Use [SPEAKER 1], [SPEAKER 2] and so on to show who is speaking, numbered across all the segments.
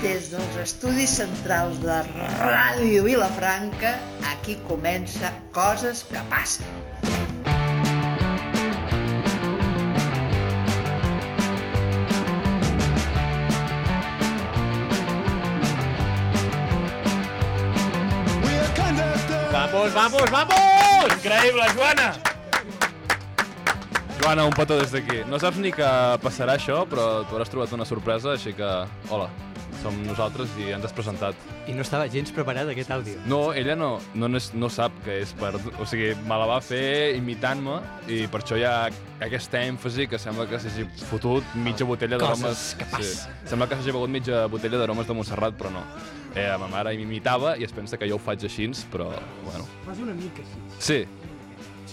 [SPEAKER 1] Des dels estudis centrals de Ràdio Vilafranca, aquí comença Coses que passen.
[SPEAKER 2] Vamos, vamos, vamos!
[SPEAKER 3] Increïble, Joana! Joana, un petó des d'aquí. No saps ni que passarà això, però tu has trobat una sorpresa, així que... Hola, som nosaltres i ens has presentat.
[SPEAKER 4] I no estava gens preparat aquest àudio.
[SPEAKER 3] No, ella no, no, n'és- no sap que és per... O sigui, me la va fer imitant-me i per això hi ha aquesta èmfasi que sembla que s'hagi fotut mitja botella
[SPEAKER 4] Coses
[SPEAKER 3] d'aromes...
[SPEAKER 4] que passen.
[SPEAKER 3] Sembla que s'hagi begut mitja botella d'aromes de Montserrat, però no. Eh, ma mare m'imitava i es pensa que jo ho faig així, però, bueno...
[SPEAKER 5] Fas una mica així.
[SPEAKER 3] Sí.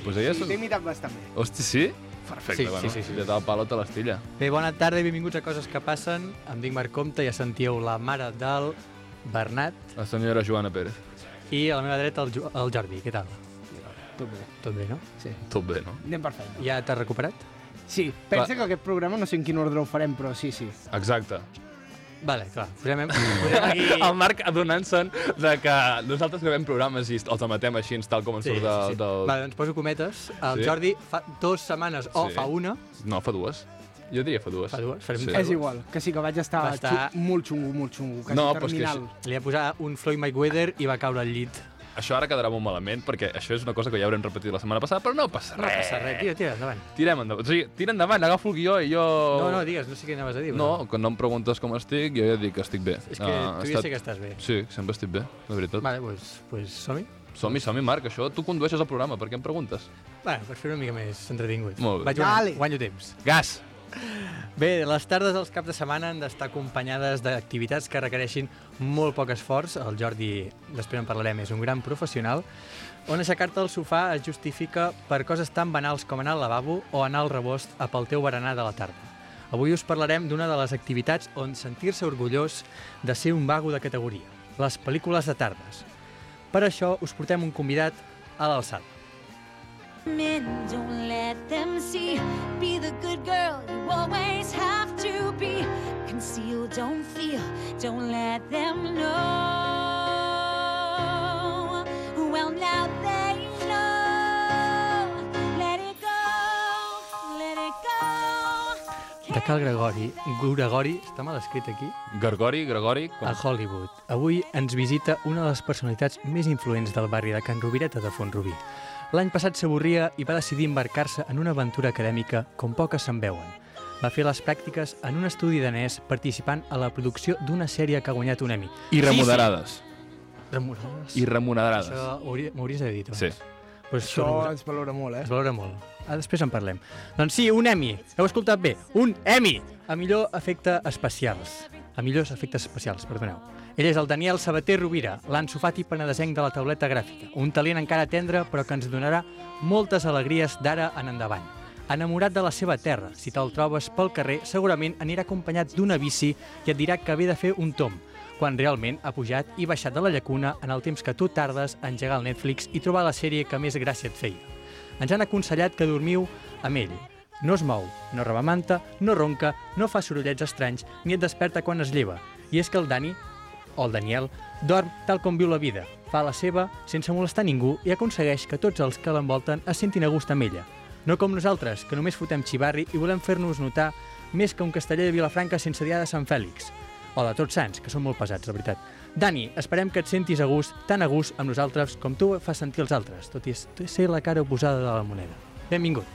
[SPEAKER 3] Pues ella és...
[SPEAKER 5] T'he imitat bastant bé.
[SPEAKER 3] Hosti, sí? Perfecte,
[SPEAKER 4] Sí,
[SPEAKER 3] bueno,
[SPEAKER 4] sí, sí, sí.
[SPEAKER 3] de tal palo te l'estilla.
[SPEAKER 4] Bé, bona tarda i benvinguts a Coses que passen. Em dic Marc Comte, ja sentíeu la mare del Bernat
[SPEAKER 3] La senyora Joana Pérez.
[SPEAKER 4] i a la meva dreta el, Jo- el Jordi. Què tal?
[SPEAKER 5] Tot bé.
[SPEAKER 4] Tot bé, no?
[SPEAKER 5] Sí.
[SPEAKER 3] Tot bé, no?
[SPEAKER 5] Anem per feina.
[SPEAKER 4] Ja t'has recuperat?
[SPEAKER 5] Sí, pensa que aquest programa, no sé en quin ordre ho farem, però sí, sí.
[SPEAKER 3] Exacte.
[SPEAKER 4] Vale, clar. Posem,
[SPEAKER 3] Mm.
[SPEAKER 4] posem aquí...
[SPEAKER 3] El Marc adonant-se'n de que nosaltres gravem programes i els emetem així, tal com ens surt de, del...
[SPEAKER 4] Vale, doncs poso cometes. El
[SPEAKER 3] Sí.
[SPEAKER 4] Jordi fa dues setmanes, o
[SPEAKER 3] Sí.
[SPEAKER 4] fa una,
[SPEAKER 3] No, fa dues. Jo diria fa dues.
[SPEAKER 4] Fa dues? Farem
[SPEAKER 3] Sí.
[SPEAKER 4] tres.
[SPEAKER 5] És igual, que sí que vaig estar,
[SPEAKER 4] Va estar-
[SPEAKER 5] xu- molt xungo, molt xungo, quasi
[SPEAKER 3] No,
[SPEAKER 5] no,
[SPEAKER 3] però és que
[SPEAKER 5] terminal.
[SPEAKER 4] li va posar un Floyd Mayweather i va caure al llit.
[SPEAKER 3] Això ara quedarà molt malament, perquè això és una cosa que ja haurem repetit la setmana passada, però no passa
[SPEAKER 4] No
[SPEAKER 3] res.
[SPEAKER 4] passa res. Tira, tira, endavant.
[SPEAKER 3] Tirem endavant. O sigui, tira endavant, agafo el guió i jo...
[SPEAKER 4] No, no, digues, no sé què anaves a dir.
[SPEAKER 3] No, quan no em preguntes com estic, jo ja dic que estic bé.
[SPEAKER 4] És que
[SPEAKER 3] Ah, ha
[SPEAKER 4] tu ja sé que estàs bé.
[SPEAKER 3] Sí, sempre estic bé, la veritat.
[SPEAKER 4] Vale, doncs pues, som-hi.
[SPEAKER 3] Som-hi, som-hi, Marc, això tu condueixes el programa, per què em preguntes?
[SPEAKER 4] Bueno, per fer una mica més entretingut.
[SPEAKER 3] Molt bé.
[SPEAKER 4] Vaig guanyant-
[SPEAKER 5] Dale.
[SPEAKER 4] guanyo temps.
[SPEAKER 3] Gas!
[SPEAKER 4] Bé, les tardes dels caps de setmana han d'estar acompanyades d'activitats que requereixin molt poc esforç. El Jordi, després en parlarem, és un gran professional. On aixecar-te al sofà es justifica per coses tan banals com anar al lavabo o anar al rebost a pel teu berenar de la tarda. Avui us parlarem d'una de les activitats on sentir-se orgullós de ser un vago de categoria, les pel·lícules de tardes. Per això us portem un convidat a l'alçada.
[SPEAKER 6] Men, don't let them see. Be the good girl you always have to be. Conceal, don't feel, don't let them know. Well, now they know. Let it go, let it go.
[SPEAKER 4] De Cal Gregori, Gregori, està mal escrit aquí,
[SPEAKER 3] Gregori, Gregori, com...
[SPEAKER 4] a Hollywood. Avui ens visita una de les personalitats més influents del barri de Can Rovireta de Font-rubí. L'any passat s'avorria i va decidir embarcar-se en una aventura acadèmica com poques se'n veuen. Va fer les pràctiques en un estudi danès participant a la producció d'una sèrie que ha guanyat un Emmy.
[SPEAKER 3] I remoderades.
[SPEAKER 4] Remunerades.
[SPEAKER 3] I remoderades.
[SPEAKER 4] Això ho hauria- m'ho hauries de dir, tu.
[SPEAKER 3] Sí.
[SPEAKER 4] Pues
[SPEAKER 5] Això
[SPEAKER 4] això
[SPEAKER 5] ens valora molt, eh?
[SPEAKER 4] es valora molt. Ah, després en parlem. Doncs sí, un Emmy. Heu escoltat bé. Un Emmy! A millor efecte especials. A millors efectes especials, perdoneu. Ell és el Daniel Sabater Rovira, l'ensofati penedesenc de la tauleta gràfica. Un talent encara tendre, però que ens donarà moltes alegries d'ara en endavant. Enamorat de la seva terra, si te'l trobes pel carrer, segurament anirà acompanyat d'una bici i et dirà que ve de fer un tomb, quan realment ha pujat i baixat de la llacuna en el temps que tu tardes a engegar el Netflix i trobar la sèrie que més gràcia et feia ens han aconsellat que dormiu amb ell. No es mou, no roba manta, no ronca, no fa sorollets estranys, ni et desperta quan es lleva. I és que el Dani, o el Daniel, dorm tal com viu la vida, fa la seva, sense molestar ningú, i aconsegueix que tots els que l'envolten es sentin a gust amb ella. No com nosaltres, que només fotem xivarri i volem fer-nos notar més que un casteller de Vilafranca sense dia de Sant Fèlix. O de Tots Sants, que són molt pesats, la veritat. Dani, esperem que et sentis a gust, tan a gust amb nosaltres com tu fas sentir els altres, tot i ser la cara oposada de la moneda. Benvingut.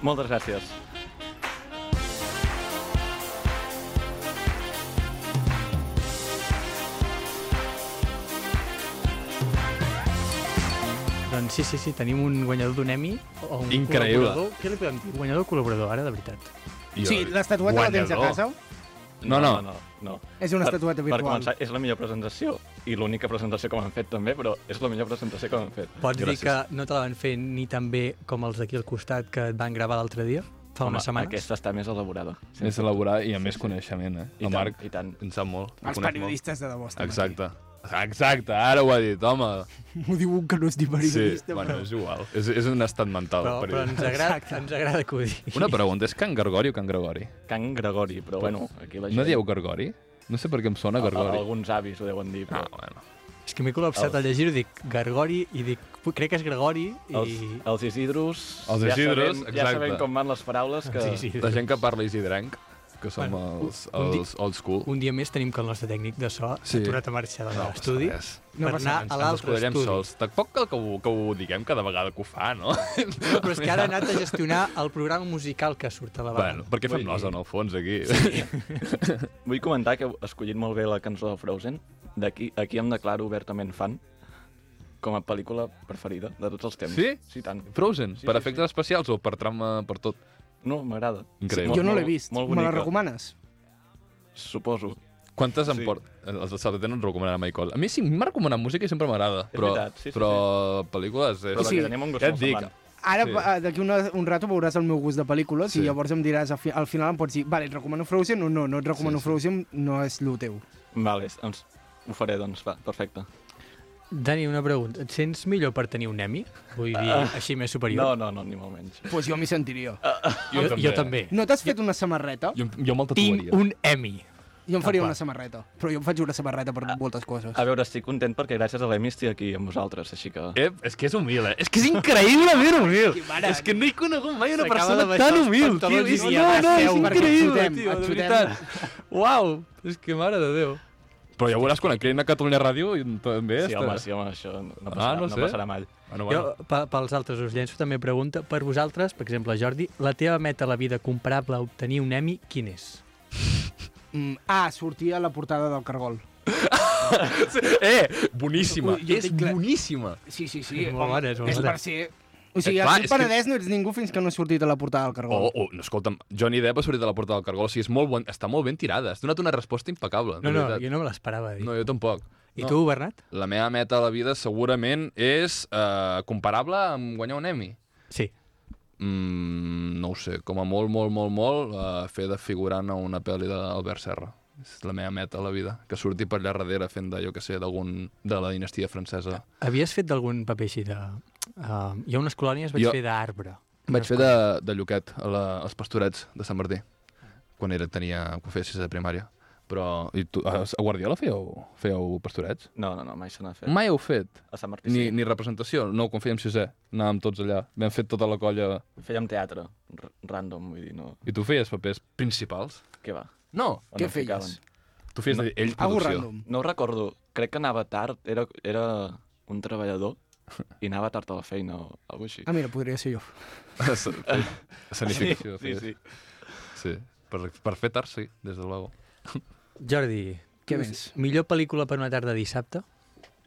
[SPEAKER 7] Moltes gràcies.
[SPEAKER 4] Doncs sí, sí, sí, tenim un guanyador d'un Emmy. o un
[SPEAKER 3] Increïble.
[SPEAKER 4] col·laborador. Què li podem dir? Guanyador o col·laborador, ara, de veritat.
[SPEAKER 3] I
[SPEAKER 5] Sí,
[SPEAKER 3] jo-
[SPEAKER 5] l'estatueta la tens a
[SPEAKER 3] guanyador.
[SPEAKER 5] casa?
[SPEAKER 3] No, no.
[SPEAKER 7] no, no.
[SPEAKER 5] És una estatueta
[SPEAKER 7] Per
[SPEAKER 5] virtual.
[SPEAKER 7] començar, és la millor presentació, i l'única presentació que m'han fet també, però és la millor presentació que m'han fet.
[SPEAKER 4] Pots
[SPEAKER 3] Gràcies.
[SPEAKER 4] dir que no te la van fer ni tan bé com els d'aquí al costat que et van gravar l'altre dia? Fa unes setmanes?
[SPEAKER 7] Aquesta està més elaborada.
[SPEAKER 3] Més elaborat i amb més coneixement, eh?
[SPEAKER 7] I
[SPEAKER 3] el
[SPEAKER 7] tant,
[SPEAKER 3] Marc
[SPEAKER 7] i tant.
[SPEAKER 3] en sap molt. el
[SPEAKER 5] Els
[SPEAKER 3] conec
[SPEAKER 5] periodistes de debò. estan
[SPEAKER 3] Molt. Exacte. Exacte, ara ho ha dit, home.
[SPEAKER 5] aquí. M'ho diu un que no és ni
[SPEAKER 3] Sí,
[SPEAKER 5] periodista,
[SPEAKER 3] bueno, és igual. És, és un estat mental.
[SPEAKER 4] Però,
[SPEAKER 3] el
[SPEAKER 4] però ens
[SPEAKER 3] periodista.
[SPEAKER 4] agrada, ens agrada que ho digui.
[SPEAKER 3] Una pregunta, és Can Gregori o Can Gregori?
[SPEAKER 7] Can Gregori, però bueno, aquí la gent...
[SPEAKER 3] No dieu Gregori? No sé per què em sona Gargori.
[SPEAKER 7] Alguns avis ho deuen dir, però...
[SPEAKER 3] No, bueno.
[SPEAKER 4] És que m'he col·lapsat al llegir-ho, dic Gargori i dic... Crec que és Gregori i...
[SPEAKER 7] Els, els Isidros...
[SPEAKER 3] Els
[SPEAKER 7] ja
[SPEAKER 3] Isidros,
[SPEAKER 7] sabem, ja sabem
[SPEAKER 3] exacte.
[SPEAKER 7] com van les paraules que...
[SPEAKER 4] Sí, sí.
[SPEAKER 3] La gent que parla isidrenc, que som
[SPEAKER 4] Bueno, un-
[SPEAKER 3] els,
[SPEAKER 4] un di-
[SPEAKER 3] els old school.
[SPEAKER 4] Un dia més tenim que el nostre tècnic de so s'ha
[SPEAKER 3] Sí.
[SPEAKER 4] aturat a marxar de
[SPEAKER 3] No passa
[SPEAKER 4] l'estudi
[SPEAKER 3] res.
[SPEAKER 4] no per anar a
[SPEAKER 3] Ens
[SPEAKER 4] l'altre
[SPEAKER 3] escudarem
[SPEAKER 4] estudi.
[SPEAKER 3] sols. Tampoc cal que ho, que ho diguem cada vegada que ho fa, no?
[SPEAKER 4] No, però és que ara ha anat a gestionar el programa musical que surt a la banda.
[SPEAKER 3] Bueno, perquè fem
[SPEAKER 4] Vull
[SPEAKER 3] nosa,
[SPEAKER 4] dir,
[SPEAKER 3] en el fons, aquí. Sí.
[SPEAKER 7] Vull comentar que heu escollit molt bé la cançó de Frozen. D'aquí aquí em declaro obertament fan com a pel·lícula preferida de tots els temps.
[SPEAKER 3] Sí?
[SPEAKER 7] Sí, tant.
[SPEAKER 3] Frozen,
[SPEAKER 7] Sí,
[SPEAKER 3] per
[SPEAKER 7] sí,
[SPEAKER 3] efectes especials o per trama, per tot?
[SPEAKER 7] No, m'agrada.
[SPEAKER 3] Increïble.
[SPEAKER 7] molt-
[SPEAKER 5] Jo no l'he
[SPEAKER 7] molt-
[SPEAKER 5] vist.
[SPEAKER 7] Molt
[SPEAKER 5] Me la
[SPEAKER 7] bonica,
[SPEAKER 5] recomanes?
[SPEAKER 7] suposo.
[SPEAKER 3] Quantes em
[SPEAKER 7] Sí.
[SPEAKER 3] port... Els de Sabater no en recomanaran mai cosa. A mi sí, m'ha recomanat música i sempre m'agrada,
[SPEAKER 7] És
[SPEAKER 3] però,
[SPEAKER 7] veritat, sí, sí,
[SPEAKER 3] però pel·lícules... És...
[SPEAKER 7] Però
[SPEAKER 5] Sí.
[SPEAKER 7] que tenim un gust
[SPEAKER 3] Ja et
[SPEAKER 7] molt
[SPEAKER 3] dic,
[SPEAKER 7] semblant.
[SPEAKER 5] Ara,
[SPEAKER 3] Sí.
[SPEAKER 5] eh, d'aquí un, un rato, veuràs el meu gust de pel·lícules
[SPEAKER 3] Sí.
[SPEAKER 5] i llavors em diràs, al, fi, al final em pots dir, vale, et recomano Frozen o no, no et recomano
[SPEAKER 3] Sí, sí.
[SPEAKER 5] Frozen, no és lo teu.
[SPEAKER 7] Vale, doncs ho faré, doncs, va, perfecte.
[SPEAKER 4] Dani, una pregunta. Et sents millor per tenir un Emmy? Vull dir,
[SPEAKER 3] Ah.
[SPEAKER 4] així més
[SPEAKER 7] No,
[SPEAKER 4] superior?
[SPEAKER 7] no, no, ni molt menys.
[SPEAKER 5] Pues jo m'hi sentiria.
[SPEAKER 4] jo, jo, també.
[SPEAKER 5] No t'has fet una samarreta?
[SPEAKER 3] Jo, jo me'l
[SPEAKER 4] Tinc
[SPEAKER 3] tatuaria.
[SPEAKER 4] un Emmy.
[SPEAKER 5] Jo em faria
[SPEAKER 4] Apa.
[SPEAKER 5] una samarreta, però jo em faig una samarreta per moltes coses.
[SPEAKER 7] A veure, estic content perquè gràcies a l'Emi estic aquí amb vosaltres, així que...
[SPEAKER 3] Ep, és que és humil, eh? És que és increïblement humil.
[SPEAKER 5] mare.
[SPEAKER 3] És que no he conegut mai una
[SPEAKER 4] S'acaba
[SPEAKER 3] persona
[SPEAKER 4] de baixar
[SPEAKER 3] tan
[SPEAKER 4] els
[SPEAKER 3] humil, tio.
[SPEAKER 4] pantalons i
[SPEAKER 3] És,
[SPEAKER 4] s'hi
[SPEAKER 3] no, no, és
[SPEAKER 4] abaixeu perquè et
[SPEAKER 3] increïble,
[SPEAKER 5] xutem,
[SPEAKER 3] tio,
[SPEAKER 5] et
[SPEAKER 3] de
[SPEAKER 5] xutem.
[SPEAKER 3] veritat. Uau, és que mare de Déu. Però ja veuràs quan et creïn a Catalunya Ràdio i també...
[SPEAKER 7] Sí,
[SPEAKER 3] està-
[SPEAKER 7] home, sí, home, això no
[SPEAKER 3] Ah,
[SPEAKER 7] passarà,
[SPEAKER 3] no
[SPEAKER 7] no,
[SPEAKER 3] sé.
[SPEAKER 7] passarà mai.
[SPEAKER 3] Bueno, bueno.
[SPEAKER 4] Jo, pe- pels altres us llenço també pregunta. Per vosaltres, per exemple, Jordi, la teva meta a la vida comparable a obtenir un Emmy, quin és?
[SPEAKER 5] Mm, ah, sortir a la portada del Cargol.
[SPEAKER 3] Eh, boníssima.
[SPEAKER 5] Ui, jo
[SPEAKER 3] és
[SPEAKER 5] tinc clar-
[SPEAKER 3] boníssima.
[SPEAKER 5] Sí, sí,
[SPEAKER 4] sí, És molt home, bona, és molt és bona. per
[SPEAKER 5] ser... O sigui,
[SPEAKER 3] Eh, clar,
[SPEAKER 5] aquí al
[SPEAKER 3] és que- Oh.
[SPEAKER 5] Penedès no ets ningú fins que no has sortit a la portada del Cargol.
[SPEAKER 3] O, o, no, escolta'm, Johnny Depp ha sortit a la porta del Cargol, o sigui, és molt bon, està molt ben tirada. Has donat una resposta impecable. de
[SPEAKER 4] No, no,
[SPEAKER 3] veritat.
[SPEAKER 4] jo no me l'esperava.
[SPEAKER 3] no,
[SPEAKER 4] No,
[SPEAKER 3] jo tampoc.
[SPEAKER 4] I
[SPEAKER 3] no.
[SPEAKER 4] tu, Bernat?
[SPEAKER 3] La meva meta a la vida segurament és eh, comparable amb guanyar un Emmy.
[SPEAKER 4] Sí.
[SPEAKER 3] Mm, no ho sé, com a molt, molt, molt, molt, eh, fer de figurant a una pel·li d'Albert Serra. És la meva meta a la vida, que surti per allà darrere fent de, jo que sé, d'algun de la dinastia francesa.
[SPEAKER 4] Havies fet d'algun paper així de... Uh, hi ha unes colònies vaig
[SPEAKER 3] Jo-
[SPEAKER 4] jo... fer d'arbre.
[SPEAKER 3] Vaig fer de, de Lluquet a la, als pastorets de Sant Martí, quan era, tenia, quan feia sisè de primària. Però, i tu, a, a Guardiola fèieu, fèieu pastorets?
[SPEAKER 7] No, no, no, mai se n'ha fet.
[SPEAKER 3] Mai heu fet,
[SPEAKER 7] A Sant Martí
[SPEAKER 3] ni,
[SPEAKER 7] sí.
[SPEAKER 3] ni representació, no, quan fèiem sisè, anàvem tots allà, vam fet tota la colla
[SPEAKER 7] Fèiem teatre, r- random, vull dir, no...
[SPEAKER 3] I tu feies papers principals?
[SPEAKER 7] Què va?
[SPEAKER 3] No,
[SPEAKER 7] On
[SPEAKER 5] Què
[SPEAKER 7] em
[SPEAKER 5] feies?
[SPEAKER 7] ficaven?
[SPEAKER 3] tu feies no. ell
[SPEAKER 5] Algo
[SPEAKER 3] producció.
[SPEAKER 5] random.
[SPEAKER 7] No ho recordo, crec que anava tard, era, era un treballador i anava tard a la feina o alguna així.
[SPEAKER 5] Ah, mira, podria ser jo.
[SPEAKER 3] Escenificació.
[SPEAKER 7] sí, sí.
[SPEAKER 3] sí. Per, per fer tard, sí, des de luego.
[SPEAKER 4] Jordi,
[SPEAKER 5] Què
[SPEAKER 4] tu-
[SPEAKER 5] més?
[SPEAKER 4] Millor pel·lícula per una tarda dissabte?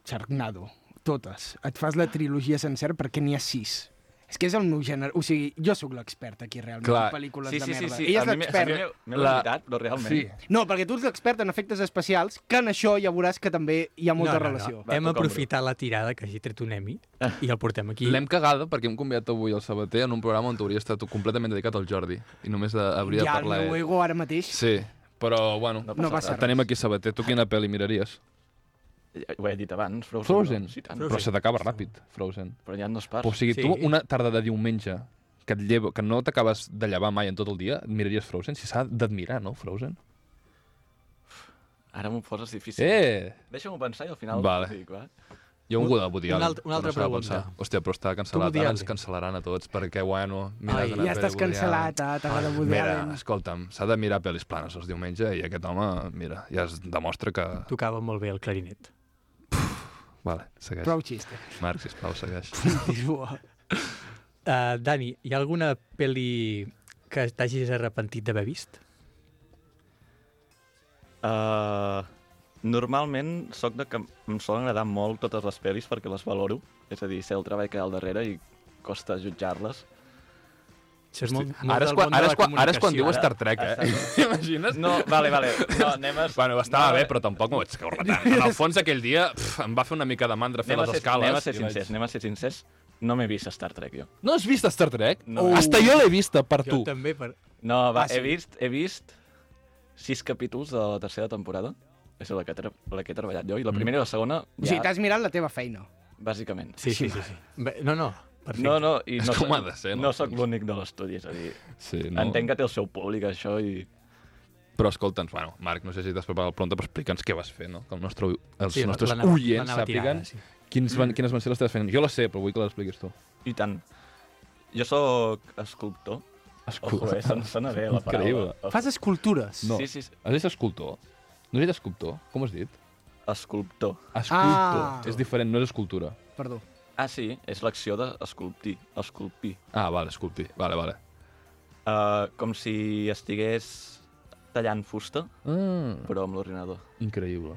[SPEAKER 5] Sharknado. Totes. Et fas la trilogia sencera perquè n'hi ha sis. És que és el meu gènere. O sigui, jo sóc l'expert aquí, realment,
[SPEAKER 3] Clar.
[SPEAKER 5] en pel·lícules
[SPEAKER 7] Sí,
[SPEAKER 5] de
[SPEAKER 7] sí, sí,
[SPEAKER 5] merda.
[SPEAKER 7] sí.
[SPEAKER 5] Ella
[SPEAKER 7] a
[SPEAKER 5] és
[SPEAKER 7] mi m'he- a mi
[SPEAKER 5] l'expert.
[SPEAKER 7] m'he- M'he
[SPEAKER 3] La-
[SPEAKER 7] oblidat, però realment.
[SPEAKER 5] No, perquè tu ets l'expert en efectes especials, que en això ja veuràs que també hi ha molta
[SPEAKER 4] no, no,
[SPEAKER 5] relació.
[SPEAKER 4] No.
[SPEAKER 7] Va,
[SPEAKER 4] Hem
[SPEAKER 7] toca ombra.
[SPEAKER 4] aprofitat la tirada, que hagi tret un Emmy, i el portem aquí.
[SPEAKER 3] Ah. L'hem cagada perquè hem convidat avui al Sabater en un programa on hauria estat completament dedicat al Jordi i només de, hauria
[SPEAKER 5] ja
[SPEAKER 3] de parlar
[SPEAKER 5] el meu
[SPEAKER 3] ell.
[SPEAKER 5] ego ara mateix...
[SPEAKER 3] Sí, però bueno, no
[SPEAKER 5] No passa res.
[SPEAKER 3] tenim aquí Sabater. Tu quina pel·li miraries?
[SPEAKER 7] Ja, Ho he dit abans, Frozen.
[SPEAKER 3] Frozen.
[SPEAKER 7] No? Sí, tant.
[SPEAKER 3] Però se t'acaba ràpid, Frozen.
[SPEAKER 7] Però hi ha dos parts.
[SPEAKER 3] O sigui,
[SPEAKER 4] Sí.
[SPEAKER 3] tu una tarda de diumenge que, et llevo, que no t'acabes de llevar mai en tot el dia, et miraries Frozen? Si s'ha d'admirar, no, Frozen?
[SPEAKER 7] Ara m'ho poses difícil.
[SPEAKER 3] Eh!
[SPEAKER 7] Deixa-m'ho pensar i al final
[SPEAKER 3] Vale.
[SPEAKER 7] ho dic, va?
[SPEAKER 3] Hi ha un Godot Woody
[SPEAKER 4] una
[SPEAKER 3] Allen.
[SPEAKER 4] alt- una altra
[SPEAKER 3] que no s'ha de
[SPEAKER 4] pregunta.
[SPEAKER 3] pensar. Hòstia, però està
[SPEAKER 4] Woody
[SPEAKER 3] cancel·lat. Ara ens
[SPEAKER 4] Allen.
[SPEAKER 3] cancel·laran a tots perquè, bueno...
[SPEAKER 4] Ai,
[SPEAKER 3] Mira,
[SPEAKER 5] Ja estàs cancel·lat, ah, t'agrada Woody
[SPEAKER 3] Mira,
[SPEAKER 4] eh?
[SPEAKER 5] Allen.
[SPEAKER 3] escolta'm, s'ha de mirar pel·lis planes els diumenge i aquest home, mira, ja es demostra que...
[SPEAKER 4] Tocava molt bé el clarinet.
[SPEAKER 3] Vale, segueix.
[SPEAKER 5] Prou xiste.
[SPEAKER 3] Marc, sisplau, segueix.
[SPEAKER 5] Continua.
[SPEAKER 4] Uh, Dani, hi ha alguna pel·li que t'hagis arrepentit d'haver vist?
[SPEAKER 7] Uh, normalment sóc de que em solen agradar molt totes les pel·lis perquè les valoro. És a dir, sé el treball que hi ha al darrere i costa jutjar-les.
[SPEAKER 4] Això és molt, molt
[SPEAKER 3] Ara és,
[SPEAKER 4] del
[SPEAKER 3] quan,
[SPEAKER 4] món de
[SPEAKER 3] ara,
[SPEAKER 4] la
[SPEAKER 3] és quan, ara és quan diu
[SPEAKER 4] comunicació.
[SPEAKER 3] Star Trek, eh? T'imagines?
[SPEAKER 7] No, vale, vale. No, anem a...
[SPEAKER 3] Bueno, estava
[SPEAKER 7] no,
[SPEAKER 3] bé, però tampoc m'ho vaig caure tant. En el fons, aquell dia pf, em va fer una mica de mandra fer
[SPEAKER 7] Anem a,
[SPEAKER 3] les
[SPEAKER 7] ser,
[SPEAKER 3] escales.
[SPEAKER 7] anem a ser
[SPEAKER 3] i
[SPEAKER 7] sincers, anem a ser sincers. No m'he vist Star Trek, jo.
[SPEAKER 3] No has vist Star Trek?
[SPEAKER 7] No.
[SPEAKER 3] Hasta jo l'he vista, per
[SPEAKER 4] eh? Jo
[SPEAKER 3] tu.
[SPEAKER 4] també, per...
[SPEAKER 7] No, va,
[SPEAKER 5] Ah, sí?
[SPEAKER 7] he vist... He vist sis capítols de la tercera temporada. És la que, he tra- la que he treballat jo. I la
[SPEAKER 3] Mm.
[SPEAKER 7] primera i la segona,
[SPEAKER 5] O sigui,
[SPEAKER 7] ja,
[SPEAKER 5] t'has mirat la teva feina.
[SPEAKER 7] bàsicament.
[SPEAKER 4] Sí, sí, sí. sí. Bé, No, no, perfecte.
[SPEAKER 7] No, no, i
[SPEAKER 3] És
[SPEAKER 7] no,
[SPEAKER 3] com
[SPEAKER 7] soc-
[SPEAKER 3] ha de ser, no?
[SPEAKER 7] no sóc l'únic de l'estudi, és a dir,
[SPEAKER 3] Sí,
[SPEAKER 7] no. entenc que té el seu públic, això, i...
[SPEAKER 3] Però escolta'ns, bueno, Marc, no sé si t'has preparat el prompte, però explica'ns què vas fer, no? Que el nostre, els
[SPEAKER 4] Sí,
[SPEAKER 3] sí, nostres
[SPEAKER 4] l'anava-
[SPEAKER 3] oients
[SPEAKER 4] l'anava tirada,
[SPEAKER 3] sàpiguen
[SPEAKER 4] sí.
[SPEAKER 3] sí. quins van, quines van ser les teves feines. Jo les sé, però vull que les expliquis tu.
[SPEAKER 7] I tant. Jo sóc escultor. Ojo, eh? Sona, sona bé la paraula.
[SPEAKER 3] Increïble.
[SPEAKER 5] Fas escultures.
[SPEAKER 3] No.
[SPEAKER 7] Sí, sí, sí.
[SPEAKER 3] Has dit escultor? No has dit escultor? Com has dit?
[SPEAKER 7] Esculptor.
[SPEAKER 3] Escultor.
[SPEAKER 5] Ah.
[SPEAKER 3] És diferent, no és escultura.
[SPEAKER 5] Perdó.
[SPEAKER 7] Ah, sí, és l'acció d'esculptir, esculpir.
[SPEAKER 3] Ah, vale, esculpi. Vale, vale.
[SPEAKER 7] Uh, com si estigués tallant fusta,
[SPEAKER 3] Mm,
[SPEAKER 7] però amb l'ordinador.
[SPEAKER 3] increïble.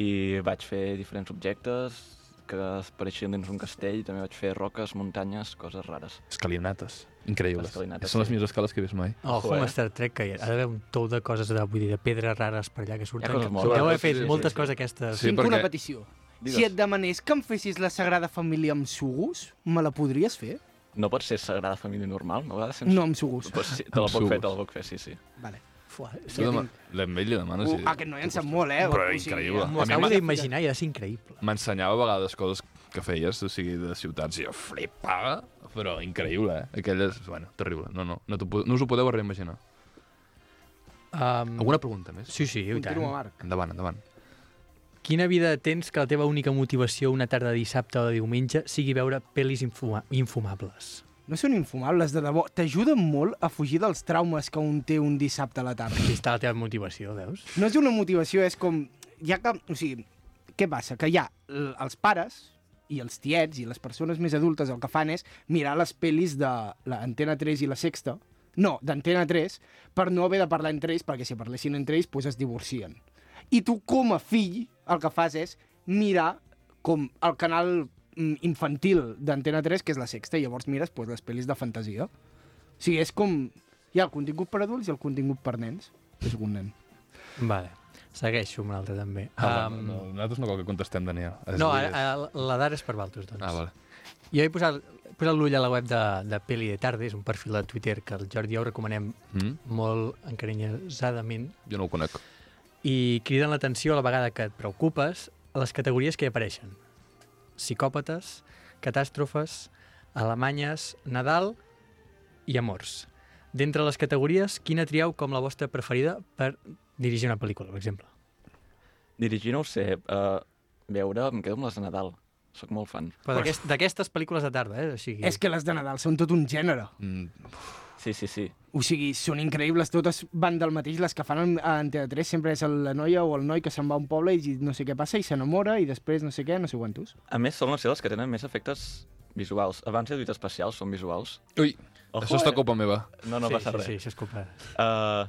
[SPEAKER 7] I vaig fer diferents objectes que apareixien dins un castell, també vaig fer roques, muntanyes, coses rares.
[SPEAKER 3] Escalinates. Increïbles.
[SPEAKER 7] Escalinates,
[SPEAKER 3] Són les
[SPEAKER 7] sí.
[SPEAKER 3] millors escales que he vist mai.
[SPEAKER 4] Ojo,
[SPEAKER 7] Ojo, eh?
[SPEAKER 4] amb Star Trek, que hi ha, ha d'haver un tou de coses de, vull dir, de pedres rares per allà que surten.
[SPEAKER 7] coses
[SPEAKER 4] que
[SPEAKER 7] molt
[SPEAKER 4] Deu haver
[SPEAKER 3] rares,
[SPEAKER 4] fet
[SPEAKER 3] sí, sí,
[SPEAKER 4] moltes
[SPEAKER 7] sí.
[SPEAKER 4] coses aquestes.
[SPEAKER 3] Sí,
[SPEAKER 5] Sí, Tinc
[SPEAKER 3] perquè-
[SPEAKER 5] una petició.
[SPEAKER 7] Digues.
[SPEAKER 5] Si et demanés que em fessis la Sagrada Família amb sugus, me la podries fer?
[SPEAKER 7] No pot ser Sagrada Família normal, a vegades sense...
[SPEAKER 5] No amb sugus.
[SPEAKER 7] Pues sí, te la
[SPEAKER 3] Amb
[SPEAKER 7] puc
[SPEAKER 3] sucs.
[SPEAKER 7] fer, te la puc fer, sí, sí.
[SPEAKER 5] Vale.
[SPEAKER 4] Fuà,
[SPEAKER 3] Tu
[SPEAKER 5] ja
[SPEAKER 3] dema- L'hem vell li
[SPEAKER 5] No,
[SPEAKER 3] demanes
[SPEAKER 5] sí.
[SPEAKER 3] i...
[SPEAKER 5] Uh, aquest noi en sap molt, eh?
[SPEAKER 3] Però
[SPEAKER 5] O sigui,
[SPEAKER 3] increïble.
[SPEAKER 5] amb
[SPEAKER 4] M'ho
[SPEAKER 3] A mi
[SPEAKER 5] la
[SPEAKER 4] acabo
[SPEAKER 3] m'ha-
[SPEAKER 4] d'imaginar i ha de ser increïble.
[SPEAKER 3] M'ensenyava a vegades coses que feies, o sigui, de ciutats, i jo flipava, però increïble, eh? Aquelles, bueno, terrible. No, no, no, t'ho pu- no us ho podeu reimaginar.
[SPEAKER 4] Um,
[SPEAKER 3] Alguna pregunta més?
[SPEAKER 4] Sí, sí, i tant.
[SPEAKER 5] Continua, Marc.
[SPEAKER 3] Endavant, endavant.
[SPEAKER 4] Quina vida tens que la teva única motivació una tarda de dissabte o de diumenge sigui veure pel·lis infuma infumables?
[SPEAKER 5] No són infumables, de debò. T'ajuden molt a fugir dels traumes que un té un dissabte a la tarda.
[SPEAKER 4] Aquí està la teva motivació, veus?
[SPEAKER 5] No és una motivació, és com... Ja que, o sigui, què passa? Que hi ha l- els pares i els tiets i les persones més adultes el que fan és mirar les pel·lis de l'Antena 3 i la Sexta, no, d'Antena 3, per no haver de parlar entre ells, perquè si parlessin entre ells, doncs es divorcien. I tu, com a fill, el que fas és mirar com el canal mm, infantil d'Antena 3, que és la Sexta, i llavors mires doncs, les pel·lis de fantasia. O sigui, és com... Hi ha el contingut per adults i el contingut per nens. És un nen.
[SPEAKER 4] Vale. Segueixo amb l'altra, també.
[SPEAKER 3] Ah,
[SPEAKER 4] Em,
[SPEAKER 3] no, no, nosaltres no cal que contestem, Daniel. Es
[SPEAKER 4] No,
[SPEAKER 3] diu-
[SPEAKER 4] ara, ara, la d'ara és per Baltos, doncs.
[SPEAKER 3] Ah, vale.
[SPEAKER 4] Jo he posat, he posat l'ull a la web de, de Peli de Tarde, és un perfil de Twitter que el Jordi ja ho recomanem
[SPEAKER 3] Mm?
[SPEAKER 4] molt encarinyosadament
[SPEAKER 3] Jo no ho conec.
[SPEAKER 4] i criden l'atenció a la vegada que et preocupes a les categories que hi apareixen. Psicòpates, catàstrofes, alemanyes, Nadal i amors. D'entre les categories, quina trieu com la vostra preferida per dirigir una pel·lícula, per exemple?
[SPEAKER 7] Dirigir no ho sé, uh, veure, em quedo amb les de Nadal. Soc molt fan.
[SPEAKER 4] Però d'aquest- d'aquestes pel·lícules de tarda, eh? O sigui,
[SPEAKER 5] És que les de Nadal són tot un gènere.
[SPEAKER 3] Mm,
[SPEAKER 7] Sí, sí, sí.
[SPEAKER 5] O sigui, són increïbles, totes van del mateix. Les que fan en, en TV3 sempre és el- la noia o el noi que se'n va a un poble i no sé què passa i s'enamora i després no sé què, no sé quantos.
[SPEAKER 7] A més, són les seves que tenen més efectes visuals. Abans he dit especials, són visuals.
[SPEAKER 3] Ui,
[SPEAKER 7] Ojo,
[SPEAKER 3] això està
[SPEAKER 7] eh?
[SPEAKER 3] culpa meva.
[SPEAKER 7] No, no
[SPEAKER 4] sí,
[SPEAKER 7] passa
[SPEAKER 4] sí,
[SPEAKER 7] res.
[SPEAKER 4] Sí, això és culpa.
[SPEAKER 7] Eh,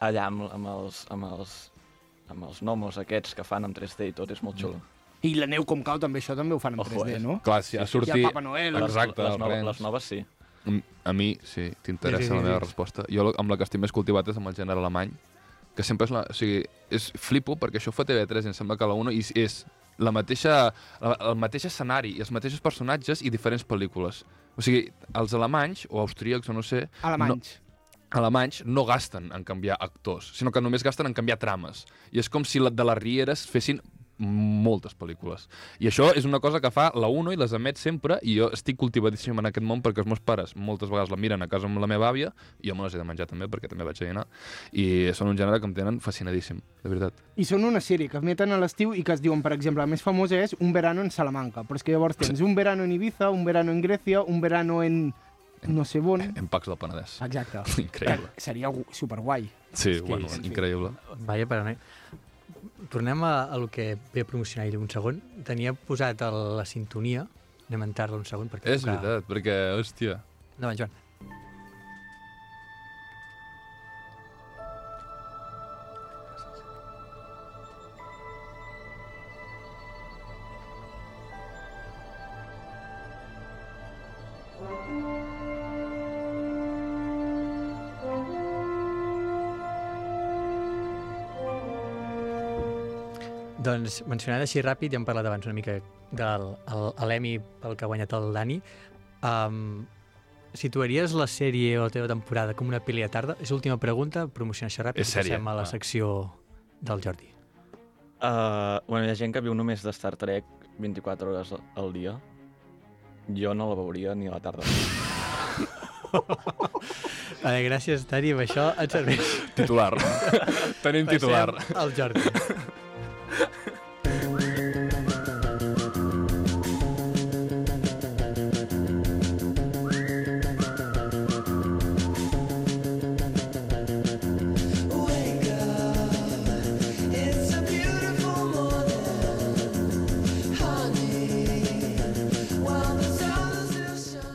[SPEAKER 7] allà amb, amb, els, amb, els, amb els nomos aquests que fan amb 3D i tot, és molt xulo.
[SPEAKER 5] I la neu com cau també, això també ho fan en
[SPEAKER 7] Ojo,
[SPEAKER 5] 3D,
[SPEAKER 7] eh? Ah.
[SPEAKER 5] no?
[SPEAKER 3] Clar, si ha sortit...
[SPEAKER 5] Hi ha Papa Noel.
[SPEAKER 3] Exacte, els
[SPEAKER 7] les, les, noves,
[SPEAKER 3] rens.
[SPEAKER 7] les noves sí.
[SPEAKER 3] Mm, A mi, sí,
[SPEAKER 4] Sí,
[SPEAKER 3] t'interessa
[SPEAKER 4] sí,
[SPEAKER 3] la
[SPEAKER 4] sí,
[SPEAKER 3] meva
[SPEAKER 4] sí.
[SPEAKER 3] resposta. Jo lo- amb la que estic més cultivat és amb el gènere alemany, que sempre és la... O sigui, és flipo perquè això ho fa TV3 i em sembla que la 1 i és la mateixa, la, el mateix escenari i els mateixos personatges i diferents pel·lícules. O sigui, els alemanys o austríacs o no sé...
[SPEAKER 5] Alemanys.
[SPEAKER 3] alemanys no gasten en canviar actors, sinó que només gasten en canviar trames. I és com si la- de les Rieres fessin moltes pel·lícules. I això és una cosa que fa la Uno i les emet sempre, i jo estic cultivadíssim en aquest món perquè els meus pares moltes vegades la miren a casa amb la meva àvia, i jo me les he de menjar també perquè també vaig a dinar, i són un gènere que em tenen fascinadíssim, de veritat.
[SPEAKER 5] I són una sèrie que emeten a l'estiu i que es diuen, per exemple, la més famosa és Un verano en Salamanca, però és que llavors tens Un verano en Ibiza, Un verano en Grècia, Un verano en no sé on...
[SPEAKER 3] En Pacs del Penedès.
[SPEAKER 5] Exacte.
[SPEAKER 3] Increïble.
[SPEAKER 5] Que Seria gu- superguai.
[SPEAKER 3] Sí,
[SPEAKER 4] que-
[SPEAKER 3] bueno,
[SPEAKER 4] en
[SPEAKER 5] fi.
[SPEAKER 3] increïble.
[SPEAKER 4] Vaja, però no. Tornem a, a lo que ve a promocionar ell un segon. Tenia posat el, la sintonia. Anem a entrar-la un segon. Perquè
[SPEAKER 3] És veritat, perquè, hòstia...
[SPEAKER 4] Endavant, Joan. Doncs mencionant així ràpid, ja hem parlat abans una mica del el- a l'Emmy pel que ha guanyat el Dani. Um, situaries la sèrie o la teva temporada com una pel·li de tarda? És l'última pregunta, promociona això ràpid
[SPEAKER 3] És
[SPEAKER 4] i
[SPEAKER 3] sèrie,
[SPEAKER 4] passem a la
[SPEAKER 3] ah.
[SPEAKER 4] secció del Jordi.
[SPEAKER 7] Uh, bueno, hi ha gent que viu només de Star Trek 24 hores al dia. Jo no la veuria ni a la tarda.
[SPEAKER 4] Eh, gràcies, Dani, amb això et serveix.
[SPEAKER 3] Titular. Tenim titular.
[SPEAKER 4] Passem al Jordi.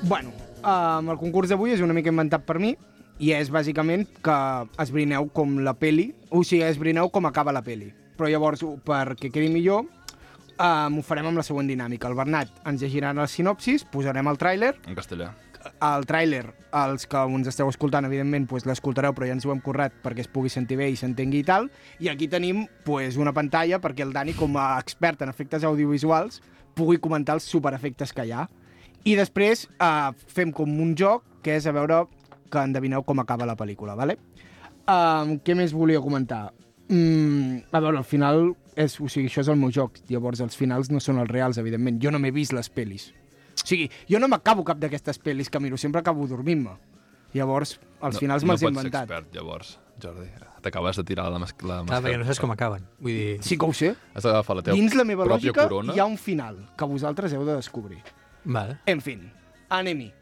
[SPEAKER 5] Bueno, um, el concurs d'avui és una mica inventat per mi i és bàsicament que esbrineu com la peli, o sigui, esbrineu com acaba la peli. Però llavors, ho- perquè quedi millor, um, ho farem amb la següent dinàmica. El Bernat ens llegirà la sinopsis, posarem el tràiler,
[SPEAKER 3] En castellà.
[SPEAKER 5] el tràiler, els que ens esteu escoltant, evidentment, pues, l'escoltareu, però ja ens ho hem currat perquè es pugui sentir bé i s'entengui i tal. I aquí tenim pues, una pantalla perquè el Dani, com a expert en efectes audiovisuals, pugui comentar els superefectes que hi ha. I després eh, fem com un joc, que és a veure que endevineu com acaba la pel·lícula, vale? Um, què més volia comentar? Mm, a veure, al final, és, o sigui, això és el meu joc, llavors els finals no són els reals, evidentment. Jo no m'he vist les pel·lis. O sigui, jo no m'acabo cap d'aquestes pel·lis que miro, sempre acabo dormint-me. Llavors, als no, finals me'ls he inventat.
[SPEAKER 3] No pots ser expert, llavors, Jordi. T'acabes de tirar la, mas la
[SPEAKER 4] Clar, perquè no
[SPEAKER 3] mascareta.
[SPEAKER 4] saps com acaben. Vull dir...
[SPEAKER 5] Sí que ho sé.
[SPEAKER 3] Has d'agafar la teva
[SPEAKER 5] Dins la meva
[SPEAKER 3] pròpia
[SPEAKER 5] lògica
[SPEAKER 3] corona.
[SPEAKER 5] hi ha un final que vosaltres heu de descobrir.
[SPEAKER 4] Vale.
[SPEAKER 5] En fin, anem-hi.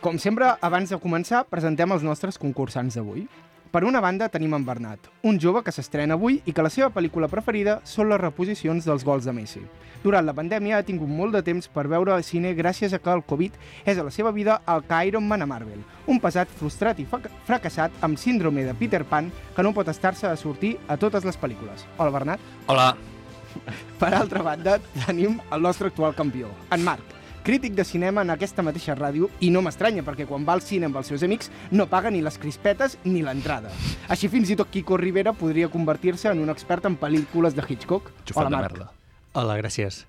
[SPEAKER 5] Com sempre, abans de començar, presentem els nostres concursants d'avui. Per una banda tenim en Bernat, un jove que s'estrena avui i que la seva pel·lícula preferida són les reposicions dels gols de Messi. Durant la pandèmia ha tingut molt de temps per veure cine gràcies a que el Covid és a la seva vida el que Iron Man a Marvel, un pesat frustrat i frac- fracassat amb síndrome de Peter Pan que no pot estar-se de sortir a totes les pel·lícules. Hola, Bernat.
[SPEAKER 3] Hola.
[SPEAKER 5] Per altra banda, tenim el nostre actual campió, en Marc, crític de cinema en aquesta mateixa ràdio, i no m'estranya, perquè quan va al cine amb els seus amics no paga ni les crispetes ni l'entrada. Així fins i tot Quico Rivera podria convertir-se en un expert en pel·lícules de Hitchcock.
[SPEAKER 3] Xufat de merda.
[SPEAKER 4] Hola, gràcies.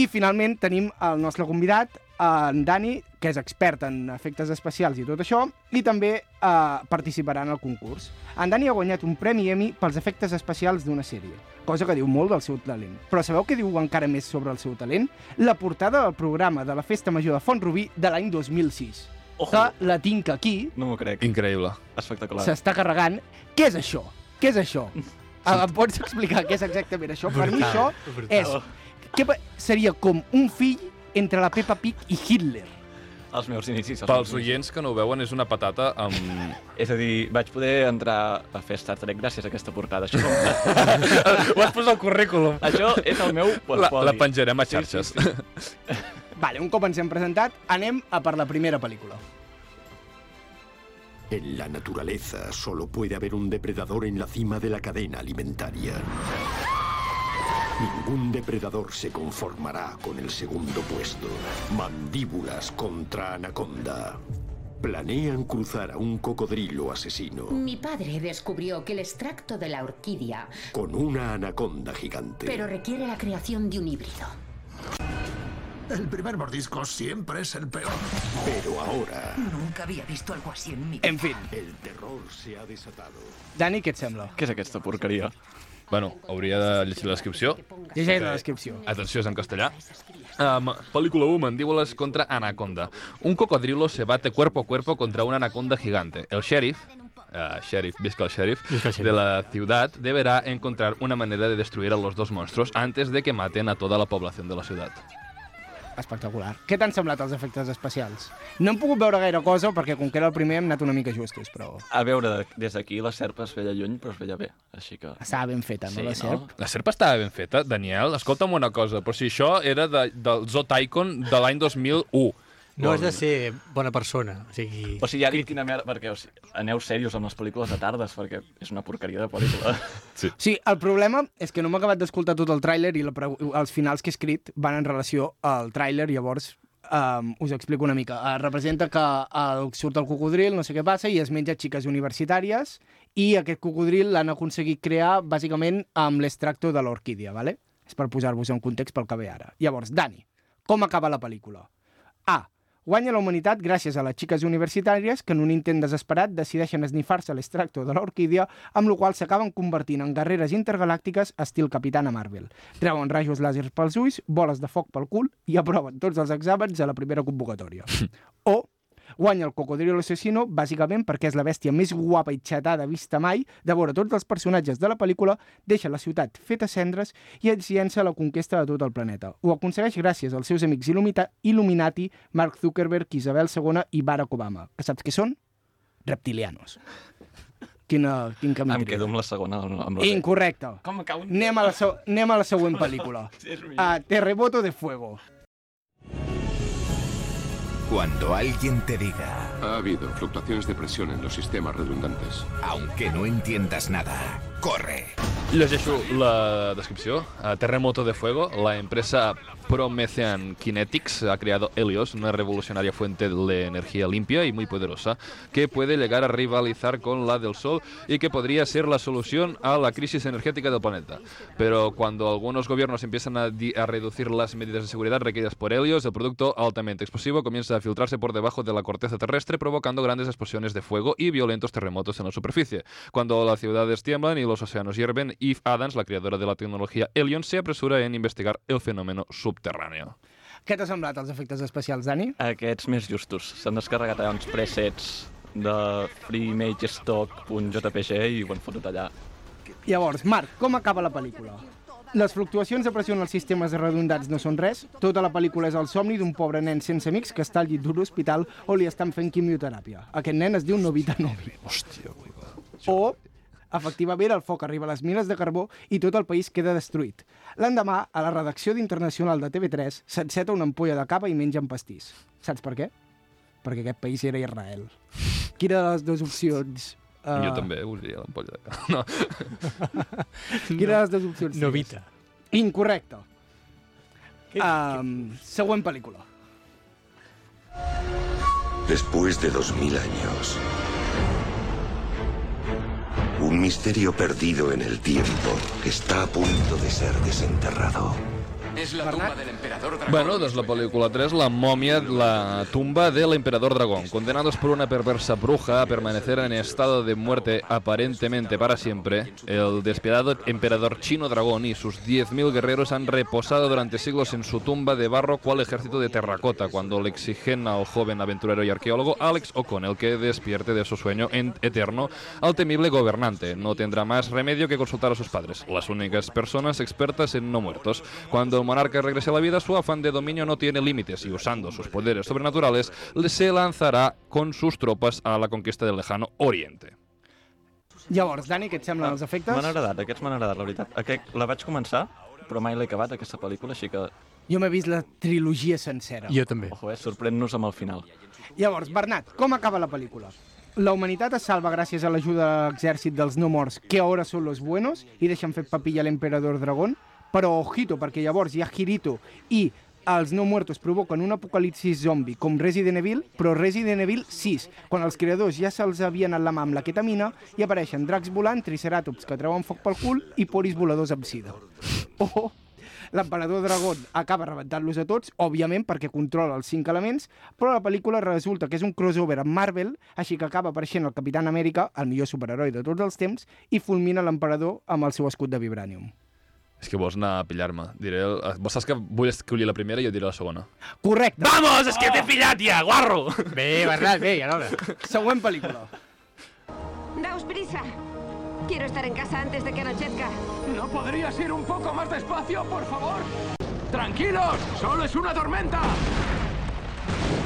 [SPEAKER 5] I finalment tenim el nostre convidat, en Dani, que és expert en efectes especials i tot això, i també eh, participarà en el concurs. En Dani ha guanyat un premi Emmy pels efectes especials d'una sèrie, cosa que diu molt del seu talent. Però sabeu què diu encara més sobre el seu talent? La portada del programa de la Festa Major de Font-Rubí de l'any 2006.
[SPEAKER 7] Ojo.
[SPEAKER 5] Que la tinc aquí,
[SPEAKER 7] No m'ho crec.
[SPEAKER 3] Increïble.
[SPEAKER 7] Espectacular.
[SPEAKER 5] s'està carregant. Què és això? Què és això? Ah, Em pots explicar què és exactament això? Per mi això és... Què pa- seria com un fill entre la Peppa Pig i Hitler.
[SPEAKER 7] Els meus inicis. els
[SPEAKER 3] Pels
[SPEAKER 7] meus inicis.
[SPEAKER 3] oients que no ho veuen, és una patata amb...
[SPEAKER 7] És a dir, vaig poder entrar a fer Star Trek gràcies a aquesta portada. Això,
[SPEAKER 3] ho has posat al currículum.
[SPEAKER 7] això és el meu
[SPEAKER 3] La,
[SPEAKER 7] portfolio.
[SPEAKER 3] la penjarem a xarxes. Sí, sí, sí.
[SPEAKER 5] Vale, un cop ens hem presentat, anem a per la primera pel·lícula.
[SPEAKER 8] En la naturaleza solo puede haber un depredador en la cima de la cadena alimentaria. Ningún depredador se conformará con el segundo puesto. Mandíbulas contra Anaconda. Planean cruzar a un cocodrilo asesino
[SPEAKER 9] Mi padre descubrió que el extracto de la orquídea,
[SPEAKER 8] con una anaconda gigante.
[SPEAKER 9] pero requiere la creación de un híbrido.
[SPEAKER 10] El primer mordisco siempre es el peor.
[SPEAKER 8] Pero ahora
[SPEAKER 9] Nunca había visto algo así en mi
[SPEAKER 5] En fin,
[SPEAKER 8] el terror se ha desatado.
[SPEAKER 5] Dani, què et sembla?
[SPEAKER 7] Què és aquesta porqueria?
[SPEAKER 3] Bueno, hauria de llegir la descripció.
[SPEAKER 5] Llegeix la descripció.
[SPEAKER 3] Atenció, és en castellà. Um, película 1, Mandíbulas contra Anaconda. Un cocodrilo se bate cuerpo a cuerpo contra una anaconda gigante. El sheriff, uh, sheriff, visca el sheriff,
[SPEAKER 4] Visca el
[SPEAKER 3] de
[SPEAKER 4] sheriff.
[SPEAKER 3] la ciudad deberá encontrar una manera de destruir a los dos monstruos antes de que maten a toda la población de la ciudad.
[SPEAKER 5] Espectacular. Què t'han semblat els efectes especials? No hem pogut veure gaire cosa perquè com que era el primer hem anat una mica justos, però
[SPEAKER 7] A veure, des d'aquí la serp es veia lluny, però es veia bé. Així que...
[SPEAKER 5] estava ben feta, no,
[SPEAKER 7] Sí,
[SPEAKER 5] la serp?
[SPEAKER 3] La serpa estava ben feta, Daniel. Escolta'm una cosa, però si això era de, del Zoo Tycoon de l'any 2001.
[SPEAKER 4] No has de ser bona persona. O sigui...
[SPEAKER 7] O sigui, ja dic quina merda, perquè o sigui, aneu serios amb les pel·lícules de tardes, perquè és una porqueria de pel·lícula.
[SPEAKER 5] Sí, el problema és que no m'he acabat d'escoltar tot el tràiler i la pregu- els finals que he escrit van en relació al tràiler, llavors um, us explico una mica. Uh, representa que uh, surt el cocodril, no sé què passa, i es menja xiques universitàries, i aquest cocodril l'han aconseguit crear bàsicament amb l'extracto de l'orquídia, ¿vale? és per posar-vos en context pel que ve ara. Llavors, Dani, com acaba la pel·lícula? A. Guanya la humanitat gràcies a les xiques universitàries que en un intent desesperat decideixen esnifar-se l'extracto de l'orquídia, amb la qual s'acaben convertint en guerreres intergalàctiques estil Capitana Marvel. Treuen rajos làsers pels ulls, boles de foc pel cul i aproven tots els exàmens a la primera convocatòria. o Guanya el Cocodrilo Assassino bàsicament perquè és la bèstia més guapa i xatada vista mai, devora tots els personatges de la pel·lícula, deixa la ciutat feta cendres i ens llença la conquesta de tot el planeta. Ho aconsegueix gràcies als seus amics il·lumita- Illuminati, Mark Zuckerberg, Isabel II i Barack Obama, que saps què són? Reptilianos. Quina, quin camí
[SPEAKER 7] Em
[SPEAKER 5] tria?
[SPEAKER 7] quedo amb la segona. Amb la
[SPEAKER 5] Incorrecte.
[SPEAKER 7] Com cau?
[SPEAKER 5] Anem a la, seg- anem a la següent pel·lícula. A Eh, Terremoto de Fuego.
[SPEAKER 11] Cuando alguien te diga,
[SPEAKER 12] Ha habido fluctuaciones de presión en los sistemas redundantes.
[SPEAKER 11] aunque no entiendas nada, corre.
[SPEAKER 3] Llegeixo la descripció. A Terremoto de Fuego, la empresa Promethean Kinetics ha creado Helios, una revolucionaria fuente de energía limpia y muy poderosa, que puede llegar a rivalizar con la del Sol y que podría ser la solución a la crisis energética del planeta. Pero cuando algunos gobiernos empiezan a, di- a reducir las medidas de seguridad requeridas por Helios, el producto altamente explosivo comienza a filtrarse por debajo de la corteza terrestre, provocando grandes explosiones de fuego y violentos terremotos en la superficie. Cuando las ciudades tiemblan y los océanos hierven, Eve Adams, la creadora de la tecnología Helion, se apresura en investigar el fenómeno subterráneo.
[SPEAKER 5] Què t'ha semblat els efectes especials, Dani?
[SPEAKER 7] Aquests més justos. S'han descarregat allà uns presets de freeimagestock.jpg i ho han fotut allà.
[SPEAKER 5] Llavors, Marc, com acaba la pel·lícula? Les fluctuacions de pressió en els sistemes redundats no són res. Tota la pel·lícula és el somni d'un pobre nen sense amics que està al llit d'un hospital on li estan fent quimioteràpia. Aquest nen es diu Novita Novi.
[SPEAKER 3] Hòstia,
[SPEAKER 5] O, efectivament, el foc arriba a les mines de carbó i tot el país queda destruït. L'endemà, a la redacció d'Internacional de TV3, s'enceta una ampolla de cava i mengen pastís. Saps per què? Perquè aquest país era Israel. Quina de les dues opcions... eh,
[SPEAKER 3] Jo també volia l'ampolla de cal. No.
[SPEAKER 5] Quina de les dues opcions?
[SPEAKER 4] Novita.
[SPEAKER 5] Incorrecte. Um, següent pel·lícula.
[SPEAKER 13] Después de 2000 años, un misterio perdido en el tiempo está a punto de ser desenterrado.
[SPEAKER 14] Es la tumba del emperador dragón.
[SPEAKER 3] Bueno, doncs la pel·lícula 3, La momia, la tumba del emperador dragón. Condenados por una perversa bruja a permanecer en estado de muerte aparentemente para siempre, el despiadado emperador chino dragón y sus 10.000 guerreros han reposado durante siglos en su tumba de barro cual ejército de terracota cuando le exigen al joven aventurero y arqueólogo Alex O'Connell que despierte de su sueño en eterno al temible gobernante. No tendrá más remedio que consultar a sus padres, las únicas personas expertas en no muertos. Cuando el monarca regrese a la vida, su afán de dominio no tiene límites y usando sus poderes sobrenaturales, le- se lanzará con sus tropas a la conquista del lejano oriente.
[SPEAKER 5] Llavors, Dani, què et semblen els
[SPEAKER 7] M'han
[SPEAKER 5] efectes?
[SPEAKER 7] agradat, aquests m'han agradat, la veritat. Aquest, la vaig començar, però mai l'he acabat, aquesta pel·lícula, així que...
[SPEAKER 5] Jo m'he vist la trilogia sencera.
[SPEAKER 4] també.
[SPEAKER 7] Ojo, eh? Sorprèn-nos amb el final.
[SPEAKER 5] Llavors, Bernat, com acaba la pel·lícula? La humanitat es salva gràcies a l'ajuda de l'exèrcit dels no morts, que ahora son los buenos, i deixen fer papilla a l'emperador dragón, però ojito, perquè llavors hi ha Girito i els no muertos provoquen un apocalipsis zombi com Resident Evil, però Resident Evil 6, quan els creadors ja se'ls havien anat la mà amb la ketamina i apareixen dracs volant, triceràtops que treuen foc pel cul i poris voladors amb sida. Oh, O L'emperador Dragon acaba rebentant-los a tots, òbviament perquè controla els cinc elements, però la pel·lícula resulta que és un crossover amb Marvel, així que acaba apareixent el Capitán Amèrica, el millor superheroi de tots els temps, i fulmina l'emperador amb el seu escut de vibranium.
[SPEAKER 3] És que vols anar a pillar-me. Diré... el- Vos saps que vull escollir la primera i jo diré la segona.
[SPEAKER 5] Correcte.
[SPEAKER 3] Vamos, és que t'he pillat ja, guarro!
[SPEAKER 4] Bé, Bernat, bé, ja l'hora.
[SPEAKER 5] Següent pel·lícula.
[SPEAKER 15] Daos prisa. Quiero estar en casa antes de que anochezca.
[SPEAKER 14] ¿No podrías ir un poco más despacio, por favor? ¡Tranquilos! ¡Solo es una tormenta!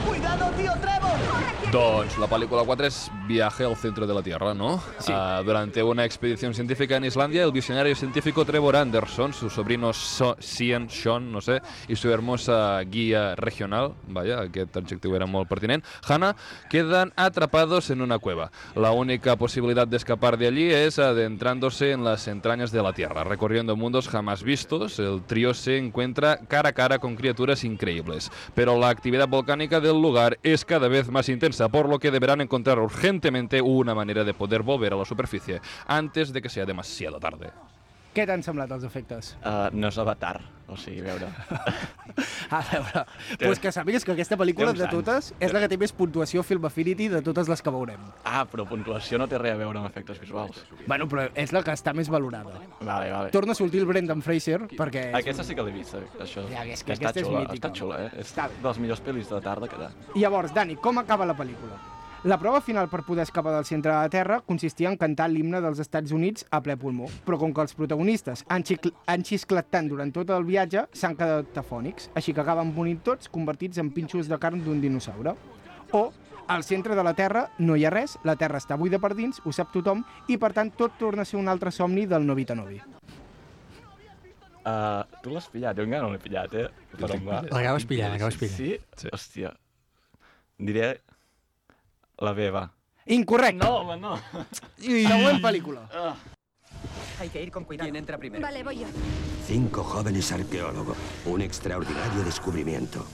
[SPEAKER 15] ¡Cuidado, tío Trevor! ¡Corre!
[SPEAKER 3] Doncs la pel·lícula 4 és Viaje al centro de la Tierra, ¿no? Ah, durante una expedición científica en Islandia, el visionario científico Trevor Anderson, su sobrino so Sian Sean, no sé, y su hermosa guía regional, vaya, aquest adjectiu era molt pertinent, Hannah, quedan atrapados en una cueva. La única posibilidad de escapar de allí es adentrándose en las entrañas de la Tierra. Recorriendo mundos jamás vistos, el trío se encuentra cara a cara con criaturas increíbles. Pero la actividad volcánica del lugar es cada vez más intensa, por lo que deberán encontrar urgentemente una manera de poder volver a la superficie antes de que sea demasiado tarde.
[SPEAKER 5] Què t'han semblat els efectes?
[SPEAKER 7] Uh, no és Avatar, o sigui, a veure...
[SPEAKER 5] A veure, pues que sàpigues que aquesta pel·lícula
[SPEAKER 7] Té
[SPEAKER 5] de
[SPEAKER 7] uns
[SPEAKER 5] totes
[SPEAKER 7] anys.
[SPEAKER 5] és la que té més puntuació Film Affinity de totes les que veurem.
[SPEAKER 7] Ah, però puntuació no té res a veure amb efectes visuals.
[SPEAKER 5] Bueno, però és la que està més valorada.
[SPEAKER 7] Vale, vale.
[SPEAKER 5] Torna a sortir el Brendan Fraser perquè... és
[SPEAKER 7] Aquesta sí que l'he vist, eh, això.
[SPEAKER 5] Ja, és que
[SPEAKER 7] està
[SPEAKER 5] aquesta és
[SPEAKER 7] xula,
[SPEAKER 5] mítica.
[SPEAKER 7] Està xula, eh? És dels millors pel·lis de la tarda que hi ha.
[SPEAKER 5] Llavors, Dani, com acaba la pel·lícula? La prova final per poder escapar del centre de la Terra consistia en cantar l'himne dels Estats Units a ple pulmó, però com que els protagonistes han, xicl- han xisclat tant durant tot el viatge, s'han quedat tafònics, així que acaben morint tots convertits en pinxos de carn d'un dinosaure. O, al centre de la Terra no hi ha res, la Terra està buida per dins, ho sap tothom, i per tant tot torna a ser un altre somni del Novita Novi.
[SPEAKER 7] Uh, tu l'has pillat, jo encara no l'he pillat, eh? Però em va-
[SPEAKER 4] L'acabes pillant, l'acabes pillant.
[SPEAKER 7] Sí? sí? Hòstia. Diré la B, va.
[SPEAKER 5] Incorrecte!
[SPEAKER 7] No, home, no.
[SPEAKER 5] Següent pel·lícula.
[SPEAKER 16] Hay que ir con cuidado. ¿Quién entra primero?
[SPEAKER 15] Vale, voy yo.
[SPEAKER 13] Cinco jóvenes arqueólogos. Un extraordinario descubrimiento.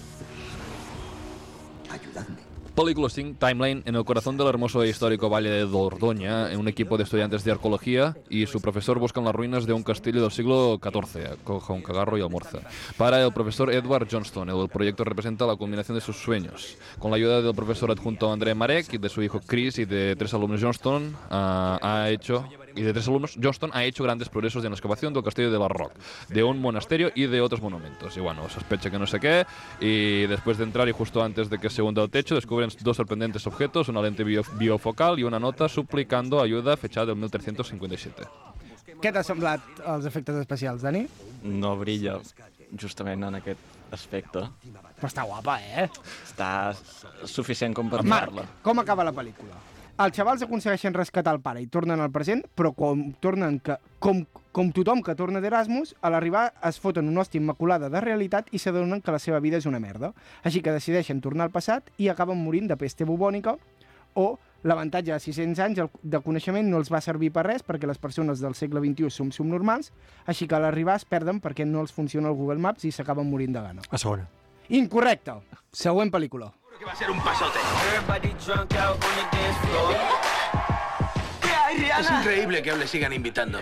[SPEAKER 3] Película 5, Timeline, en el corazón del hermoso e histórico Valle de Dordoña, un equipo de estudiantes de arqueología y su profesor buscan las ruinas de un castillo del siglo XIV, coja un cagarro y almuerza. Para el profesor Edward Johnston, el proyecto representa la culminación de sus sueños. Con la ayuda del profesor adjunto André Marek y de su hijo Chris y de tres alumnos Johnston, ah, ha hecho y de tres alumnos, Johnston ha hecho grandes progresos en la excavación del castillo de la Rock, de un monasterio y de otros monumentos. Y bueno, sospecha que no sé qué, y después de entrar y justo antes de que se hunda el techo, descubren dos sorprendentes objetos, una lente bio- biofocal y una nota suplicando ayuda fechada del 1357.
[SPEAKER 5] Què t'ha semblat els efectes especials, Dani?
[SPEAKER 7] No brilla justament en aquest aspecte.
[SPEAKER 5] Però està guapa, eh?
[SPEAKER 7] Està suficient com per
[SPEAKER 5] Marc,
[SPEAKER 7] mirar-la.
[SPEAKER 5] com acaba la pel·lícula? Els xavals aconsegueixen rescatar el pare i tornen al present, però com, tornen que, com, com tothom que torna d'Erasmus, a l'arribar es foten una hòstia immaculada de realitat i s'adonen que la seva vida és una merda. Així que decideixen tornar al passat i acaben morint de peste bubònica o l'avantatge de 600 anys el- de coneixement no els va servir per res perquè les persones del segle XXI som subnormals, així que a l'arribar es perden perquè no els funciona el Google Maps i s'acaben morint de gana.
[SPEAKER 4] A segona.
[SPEAKER 5] Incorrecte. Següent pel·lícula.
[SPEAKER 14] va a ser un pasote. Es increíble que aún le sigan invitando.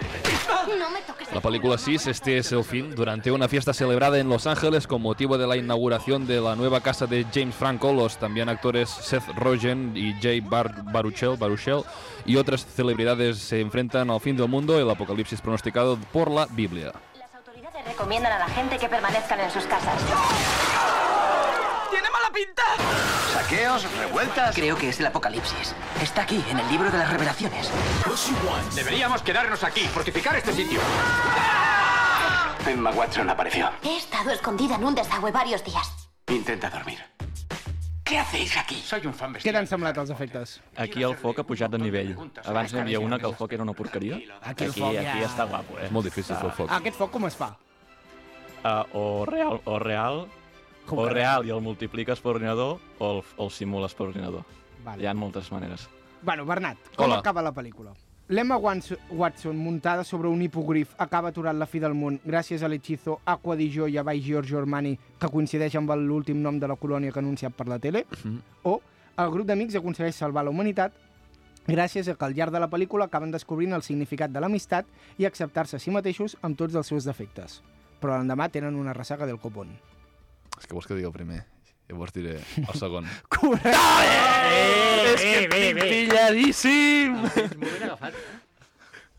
[SPEAKER 3] La película 6, este es el fin, durante una fiesta celebrada en Los Ángeles con motivo de la inauguración de la nueva casa de James Franco, los también actores Seth Rogen y Jay Bar- Baruchel, Baruchel y otras celebridades se enfrentan al fin del mundo, el apocalipsis pronosticado por la Biblia.
[SPEAKER 17] Recomiendan a la gente que permanezcan en sus casas.
[SPEAKER 16] ¡Tiene mala pinta! Saqueos, revueltas. Creo que es el apocalipsis. Está aquí, en el libro de las revelaciones.
[SPEAKER 14] Deberíamos quedarnos aquí, fortificar este sitio.
[SPEAKER 11] Emma Watson apareció.
[SPEAKER 17] He estado escondida en un desagüe varios días.
[SPEAKER 11] Intenta dormir.
[SPEAKER 16] ¿Qué hacéis aquí?
[SPEAKER 11] Soy un fan
[SPEAKER 5] Què t'han semblat els efectes?
[SPEAKER 7] Aquí el foc ha pujat de nivell. Abans n'hi havia una que el foc era una porqueria.
[SPEAKER 5] Aquí el
[SPEAKER 7] Aquí,
[SPEAKER 5] foc,
[SPEAKER 7] aquí
[SPEAKER 5] ja.
[SPEAKER 7] està guapo, eh?
[SPEAKER 3] És molt difícil fer el foc.
[SPEAKER 5] Aquest foc com es fa?
[SPEAKER 7] Ah, o real, o real,
[SPEAKER 5] Com
[SPEAKER 7] o
[SPEAKER 5] que
[SPEAKER 7] real i el multipliques per ordinador o el, o el simules per ordinador.
[SPEAKER 5] Vale.
[SPEAKER 7] Hi ha moltes maneres.
[SPEAKER 5] Bueno, Bernat, com
[SPEAKER 7] Hola.
[SPEAKER 5] acaba la pel·lícula? L'Emma Wans- Watson, muntada sobre un hipogrif, acaba aturant la fi del món gràcies a l'hechizo Aqua di Gioia by Giorgio Armani, que coincideix amb l'últim nom de la colònia que ha anunciat per la tele,
[SPEAKER 7] Mhm.
[SPEAKER 5] o el grup d'amics aconsegueix salvar la humanitat gràcies a que al llarg de la pel·lícula acaben descobrint el significat de l'amistat i acceptar-se a si mateixos amb tots els seus defectes. Però l'endemà tenen una ressaca del copón.
[SPEAKER 3] Es que vos que digo primero, yo vos diré el segon.
[SPEAKER 5] Ah, És que tinc pilladíssim!
[SPEAKER 4] Ah,
[SPEAKER 16] Molt ben agafat.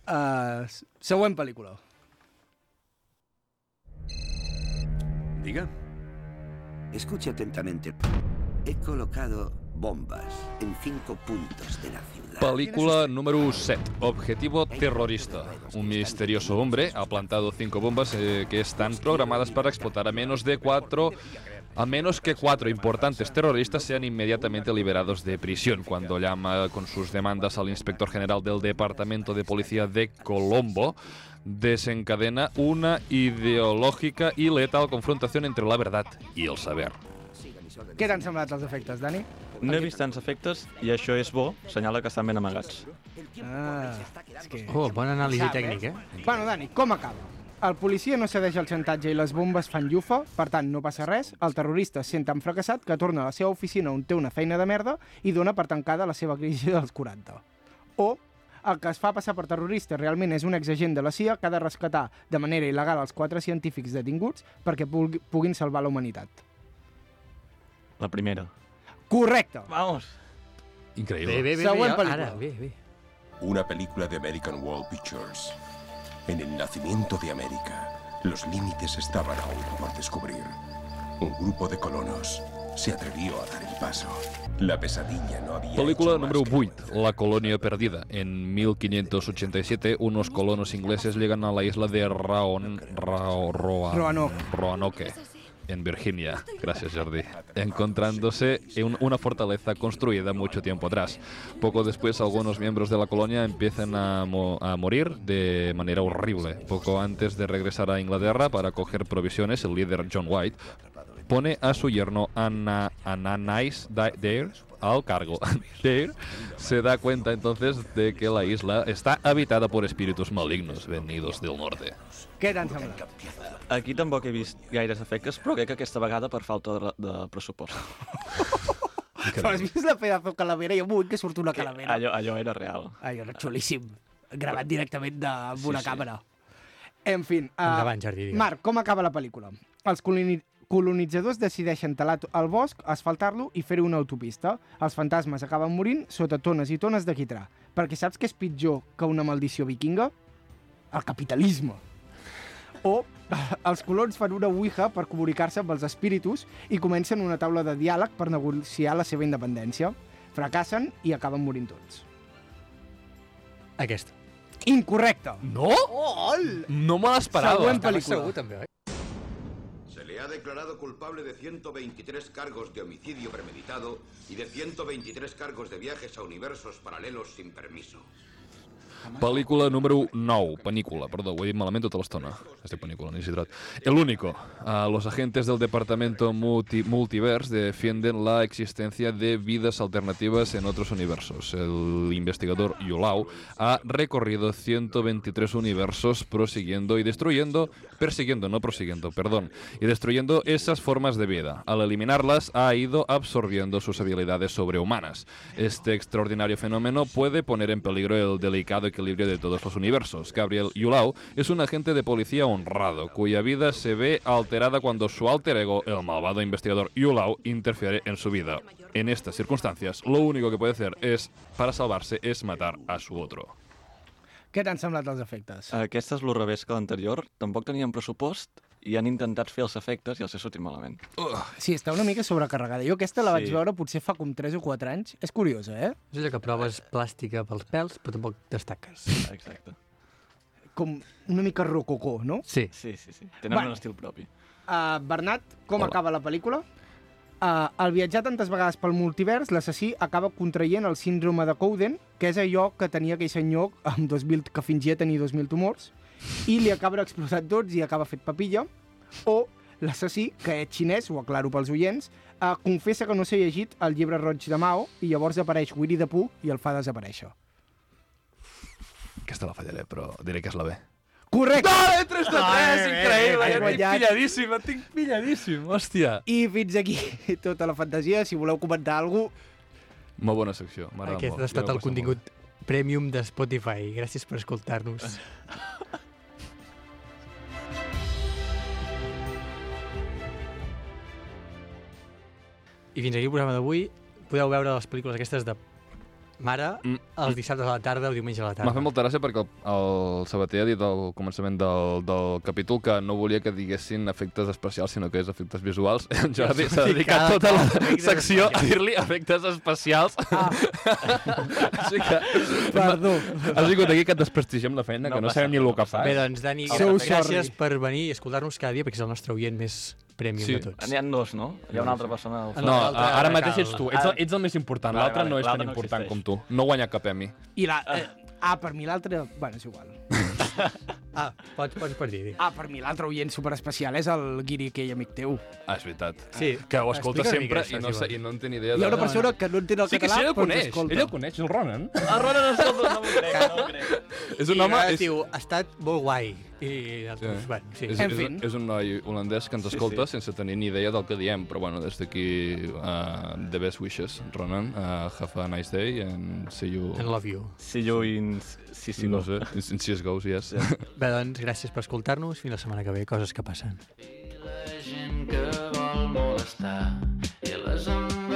[SPEAKER 5] Uh, següent pel·lícula.
[SPEAKER 18] Diga. Escuche atentamente. He colocado bombas en cinco puntos de la ciudad.
[SPEAKER 3] Película número 7. Objetivo terrorista. Un misterioso hombre ha plantado cinco bombas eh, que están programadas para explotar a menos de cuatro. A menos que cuatro importantes terroristas sean inmediatamente liberados de prisión, cuando llama con sus demandas al inspector general del Departamento de Policía de Colombo, desencadena una ideológica y letal confrontación entre la verdad y el saber.
[SPEAKER 5] Què t'han semblat els efectes, Dani?
[SPEAKER 7] No he vist tants efectes i això és bo, senyala que estan ben amagats.
[SPEAKER 5] Ah, és que...
[SPEAKER 4] Oh, bona anàlisi tècnic, eh?
[SPEAKER 5] Bueno, Dani, com acaba? El policia no cedeix al xantatge i les bombes fan llufa, per tant, no passa res. El terrorista es sent tan fracassat que torna a la seva oficina on té una feina de merda i dona per tancada la seva crisi dels 40. O el que es fa passar per terrorista realment és un exagent de la CIA que ha de rescatar de manera il·legal els quatre científics detinguts perquè pugui- puguin salvar la humanitat.
[SPEAKER 7] La primera.
[SPEAKER 5] Correcte!
[SPEAKER 7] Vamos.
[SPEAKER 12] Increíble.
[SPEAKER 5] Següent pel·lícula.
[SPEAKER 4] Ara, bé, bé.
[SPEAKER 12] Una película de American Wall Pictures. En el nacimiento de América, los límites estaban aún por descubrir. Un grupo de colonos se atrevió a dar el paso. La pesadilla no había
[SPEAKER 3] Película número 8, La colonia perdida. En 1587, unos colonos ingleses llegan a la isla de Raon, Rao- Roa-
[SPEAKER 5] Roanoke.
[SPEAKER 3] Roanoke, en Virginia. Gracias, Jordi. Encontrándose en una fortaleza construida mucho tiempo atrás. Poco después, algunos miembros de la colonia empiezan a, mo- a morir de manera horrible. Poco antes de regresar a Inglaterra para coger provisiones, el líder John White pone a su yerno Anna, Ananais Da- Dare al cargo. Dare se da cuenta entonces de que la isla está habitada por espíritus malignos venidos del norte.
[SPEAKER 5] Què t'han semblat?
[SPEAKER 7] Aquí tampoc he vist gaires efectes, però crec que aquesta vegada per falta de, de pressupost.
[SPEAKER 5] Però has vist la pedazo de calavera? Jo vull que surt una calavera.
[SPEAKER 7] Allò, allò era real.
[SPEAKER 5] Allò era xulíssim. Gravat directament de, amb
[SPEAKER 7] Sí,
[SPEAKER 5] una
[SPEAKER 7] sí.
[SPEAKER 5] càmera. En fi, uh,
[SPEAKER 4] Endavant, Jordi, digues.
[SPEAKER 5] Marc, com acaba la pel·lícula? Els coloni colonitzadors decideixen talar el bosc, asfaltar-lo i fer una autopista. Els fantasmes acaben morint sota tones i tones de quitrà. Perquè saps què és pitjor que una maldició vikinga? El capitalisme. O els colons fan una ouija per comunicar-se amb els espíritus i comencen una taula de diàleg per negociar la seva independència. Fracassen i acaben morint tots.
[SPEAKER 4] Aquesta.
[SPEAKER 5] Incorrecte.
[SPEAKER 3] No?
[SPEAKER 5] ¡Ol!
[SPEAKER 3] No me
[SPEAKER 5] l'esperava. Següent pel·lícula.
[SPEAKER 4] Segur, també, oi?
[SPEAKER 19] Se le ha declarado culpable de 123 cargos de homicidio premeditado y de 123 cargos de viajes a universos paralelos sin permiso.
[SPEAKER 3] Pel·lícula número 9, panícula, perdó, ho he dit malament tota l'estona. Este panícula, ni hidrat. El único. Ah, los agentes del Departamento Multi Multiverse defienden la existencia de vidas alternativas en otros universos. El investigador Yulau ha recorrido 123 universos prosiguiendo y destruyendo, persiguiendo, no prosiguiendo, perdón, y destruyendo esas formas de vida. Al eliminarlas ha ido absorbiendo sus habilidades sobrehumanas. Este extraordinario fenómeno puede poner en peligro el delicado equilibrio de todos los universos. Gabriel Yulau es un agente de policía honrado, cuya vida se ve alterada cuando su alter ego, el malvado investigador Yulau, interfiere en su vida. En estas circunstancias, lo único que puede hacer es, para salvarse, es matar a su otro.
[SPEAKER 5] Què t'han semblat els efectes?
[SPEAKER 7] Aquesta és lo revés que l'anterior. Tampoc tenien pressupost i han intentat fer els efectes i els ha sortit malament.
[SPEAKER 5] Sí, està una mica sobrecarregada. Jo aquesta la vaig
[SPEAKER 7] Sí.
[SPEAKER 5] veure potser fa com 3 o 4 anys. És curiosa, eh?
[SPEAKER 4] És allò que proves plàstica pels pèls, però tampoc destaques.
[SPEAKER 7] Exacte.
[SPEAKER 5] Com una mica rococó, no?
[SPEAKER 4] Sí.
[SPEAKER 7] Sí, sí, sí. Tenen
[SPEAKER 5] Bueno.
[SPEAKER 7] un estil propi.
[SPEAKER 5] Uh, Bernat, com
[SPEAKER 7] Hola.
[SPEAKER 5] acaba la pel·lícula? Uh, al viatjar tantes vegades pel multivers, l'assassí acaba contraient el síndrome de Cowden, que és allò que tenia aquell senyor amb 2000, que fingia tenir 2.000 tumors, i li acaben explotat tots i acaba fet papilla. O l'assassí, que és xinès, ho aclaro pels oients, uh, confessa que no s'ha llegit el llibre roig de Mao i llavors apareix Winnie the Pooh i el fa desaparèixer.
[SPEAKER 3] Aquesta la fallaré, però diré que és la B.
[SPEAKER 5] Correcte!
[SPEAKER 3] Dale, 3 de 3, increïble!
[SPEAKER 5] Has
[SPEAKER 3] Ja tinc
[SPEAKER 5] guanyat.
[SPEAKER 3] pilladíssim, la tinc pilladíssim, hòstia.
[SPEAKER 5] I fins aquí tota la fantasia. Si voleu comentar alguna cosa,
[SPEAKER 3] Molt bona secció, m'agrada molt.
[SPEAKER 4] Aquest ha estat
[SPEAKER 3] Jo
[SPEAKER 4] el
[SPEAKER 3] m'ho passo
[SPEAKER 4] contingut premium de Spotify. Gràcies per escoltar-nos. I fins aquí el programa d'avui. Podeu veure les pel·lícules aquestes de mare els dissabtes a la tarda o diumenge a
[SPEAKER 3] Mm.
[SPEAKER 4] la
[SPEAKER 3] M'ha
[SPEAKER 4] tarda.
[SPEAKER 3] fet molta gràcia perquè el, el Sabater ha dit al començament del, del capítol que no volia que diguessin efectes especials, sinó que és efectes visuals. En Jordi s'ha
[SPEAKER 2] Sí,
[SPEAKER 3] dedicat
[SPEAKER 2] cada
[SPEAKER 3] tota
[SPEAKER 2] cop
[SPEAKER 3] la
[SPEAKER 2] efectes
[SPEAKER 3] secció a
[SPEAKER 2] especials.
[SPEAKER 3] dir-li efectes especials. Ah. Així que...
[SPEAKER 5] Perdó.
[SPEAKER 3] Has vingut aquí que et desprestigiem la feina, no que no sabem ni el que fas.
[SPEAKER 4] Bé, doncs, Dani,
[SPEAKER 3] So
[SPEAKER 4] gràcies
[SPEAKER 3] sorry.
[SPEAKER 4] per venir i escoltar-nos cada dia, perquè és el nostre oient més premium
[SPEAKER 3] Sí.
[SPEAKER 4] de tots.
[SPEAKER 7] N'hi ha dos, no? Hi ha una altra persona... al
[SPEAKER 3] No,
[SPEAKER 7] fons.
[SPEAKER 3] a- ara mateix ets tu. Ets el, ets el més important.
[SPEAKER 7] Vale,
[SPEAKER 3] L'altre
[SPEAKER 7] vale,
[SPEAKER 3] no és
[SPEAKER 7] l'altre
[SPEAKER 3] tan
[SPEAKER 7] no
[SPEAKER 3] important
[SPEAKER 7] existeix.
[SPEAKER 3] com tu. No guanya cap Emmy.
[SPEAKER 5] I la... Eh, ah, per mi l'altre... Bueno, és igual.
[SPEAKER 4] Ah, pots, pots, pots dir.
[SPEAKER 5] Ah, per mi l'altre oient superespecial és el Guiri, aquell amic teu.
[SPEAKER 3] Ah, és veritat.
[SPEAKER 4] Sí.
[SPEAKER 3] Que ho escolta
[SPEAKER 4] Explica una
[SPEAKER 3] sempre
[SPEAKER 4] mica això,
[SPEAKER 3] i no,
[SPEAKER 4] si
[SPEAKER 3] sé,
[SPEAKER 4] vols.
[SPEAKER 3] i no en té ni idea.
[SPEAKER 5] Hi ha
[SPEAKER 3] de-
[SPEAKER 5] una persona que no entén el
[SPEAKER 3] sí,
[SPEAKER 5] català, doncs
[SPEAKER 3] que sí,
[SPEAKER 5] però
[SPEAKER 3] ell ho coneix.
[SPEAKER 5] t'escolta.
[SPEAKER 3] Ell ho coneix, el Ronan.
[SPEAKER 7] El Ronan es escolta, no m'ho crec, no m'ho crec.
[SPEAKER 3] És un
[SPEAKER 4] I
[SPEAKER 3] home-
[SPEAKER 4] ara
[SPEAKER 3] és-
[SPEAKER 4] Diu, ha estat molt guai. I altres, sí. bueno, sí.
[SPEAKER 3] És, és, un- és un noi holandès que ens
[SPEAKER 4] Sí,
[SPEAKER 3] escolta
[SPEAKER 4] sí.
[SPEAKER 3] sense tenir ni idea del que diem, però bueno, des d'aquí, uh, the best wishes, Ronan. Uh, have a nice day and see you...
[SPEAKER 4] And love you.
[SPEAKER 3] See you in CSGO. No sé, in, in CSGO, yes.
[SPEAKER 4] Bé, doncs, gràcies per escoltar-nos. Fins la setmana que ve. Coses que passen.
[SPEAKER 20] gent que vol molestar i a les ombres